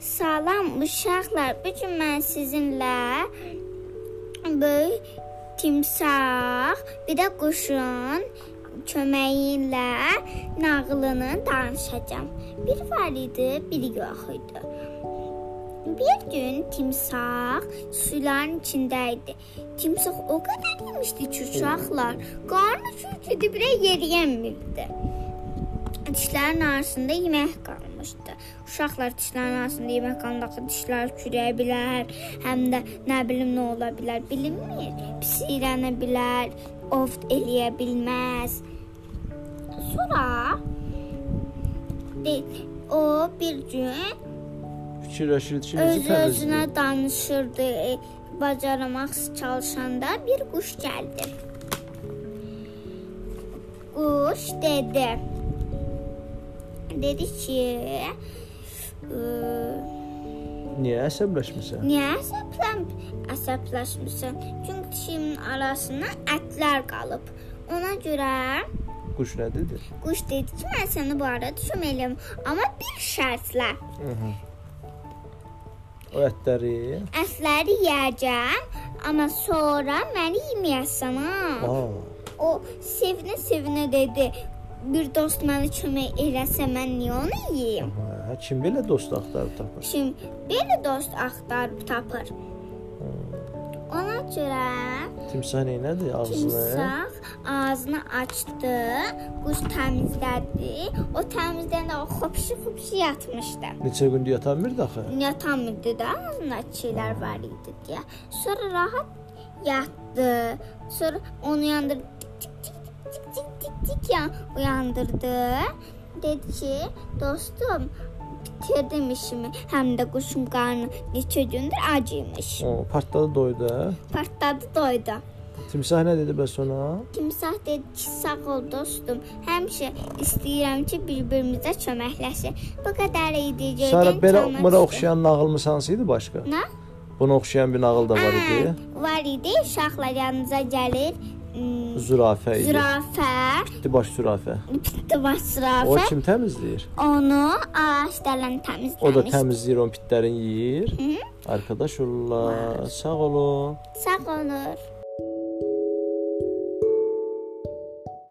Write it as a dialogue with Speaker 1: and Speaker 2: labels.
Speaker 1: Salam uşaqlar, bu gün mən sizinlə böyük timsah, bir də quşun köməyi ilə nağılını danışacağam. Bir var idi, biri yox idi. Bir gün timsah suların içində idi. Timsah o qədər yemişdi ki, uşaqlar qarnı çürküdü, birə yeriyəmirdi. Dişlərin arasında yemək qalmışdı. Uşaqlar dişlərin arasında yemək qaldıqca dişlər kürəyə bilər, həm də nə bilim nə ola bilər, bilinmir. Pisirənə bilər, oft eləyə bilməz. Sonra de, o bir gün
Speaker 2: Fikirləşirdi ki, necə
Speaker 1: öz
Speaker 2: təmizləyir.
Speaker 1: özünə danışırdı. e, Bacaramaq çalışanda bir quş gəldi. Quş dedi. Dedi ki, "Ə,
Speaker 2: Niyə əsəbləşmisən?
Speaker 1: niyə əsəblən əsəbləşmisən? Çünki dişimin arasına ətlər qalıb. Ona görə
Speaker 2: Quş nə dedi?
Speaker 1: quş dedi ki, mən səni bu arada düşməyəm, amma bir şərtlə.
Speaker 2: O ətləri.
Speaker 1: Əsləri yeyəcəm, amma sonra məni yeməyəsən ha.
Speaker 2: Aa,
Speaker 1: O sevinə-sevinə dedi. Bir dost mənə kömək eləsə mən niyə onu yeyim?
Speaker 2: hə, kim belə dost axtarıb tapır?
Speaker 1: Şimdi belə dost axtarıb tapır. Ona görə
Speaker 2: Timsah nə elədi? Ağzını.
Speaker 1: timsah ağzını açdı, quş təmizlədi. O təmizləndə o xopşu-xopşu yatmışdı.
Speaker 2: Neçə gündür yatamırdı axı?
Speaker 1: yatamırdı da ağzında şeyler var idi diye. Sonra rahat yattı. Sonra onu yandırdı. Tik tik tik tik tik tik tik tik ya uyandırdı. Dedi ki dostum bitirdim işimi. Hem de kuşun karnı neçə gündür acıymış.
Speaker 2: O partladı doydu. hə?
Speaker 1: Partladı doydu.
Speaker 2: Timsah nə dedi bəs ona?
Speaker 1: Timsah dedi ki, sağ ol dostum. Həmişə istəyirəm ki, bir-birimizə köməkləşək. Bu qədər idi.
Speaker 2: Sara
Speaker 1: göydən
Speaker 2: belə
Speaker 1: çalmaq
Speaker 2: mıra
Speaker 1: istəyirəm.
Speaker 2: oxşayan nağılmısı hansı idi başqa?
Speaker 1: Nə?
Speaker 2: Buna oxşayan bir nağıl da var idi.
Speaker 1: Hə, Var idi. Uşaqlar yanınıza gəlir. Hmm, m,
Speaker 2: Zürafə idi.
Speaker 1: Zürafə,
Speaker 2: Baş zürafə.
Speaker 1: pitli baş
Speaker 2: O
Speaker 1: zürafə.
Speaker 2: kim təmizləyir?
Speaker 1: Onu ağacdan təmizləmiş.
Speaker 2: O da təmizləyir, onun pitlərini yeyir. Arkadaş olurlar. Sağ olun.
Speaker 1: Sağ olur.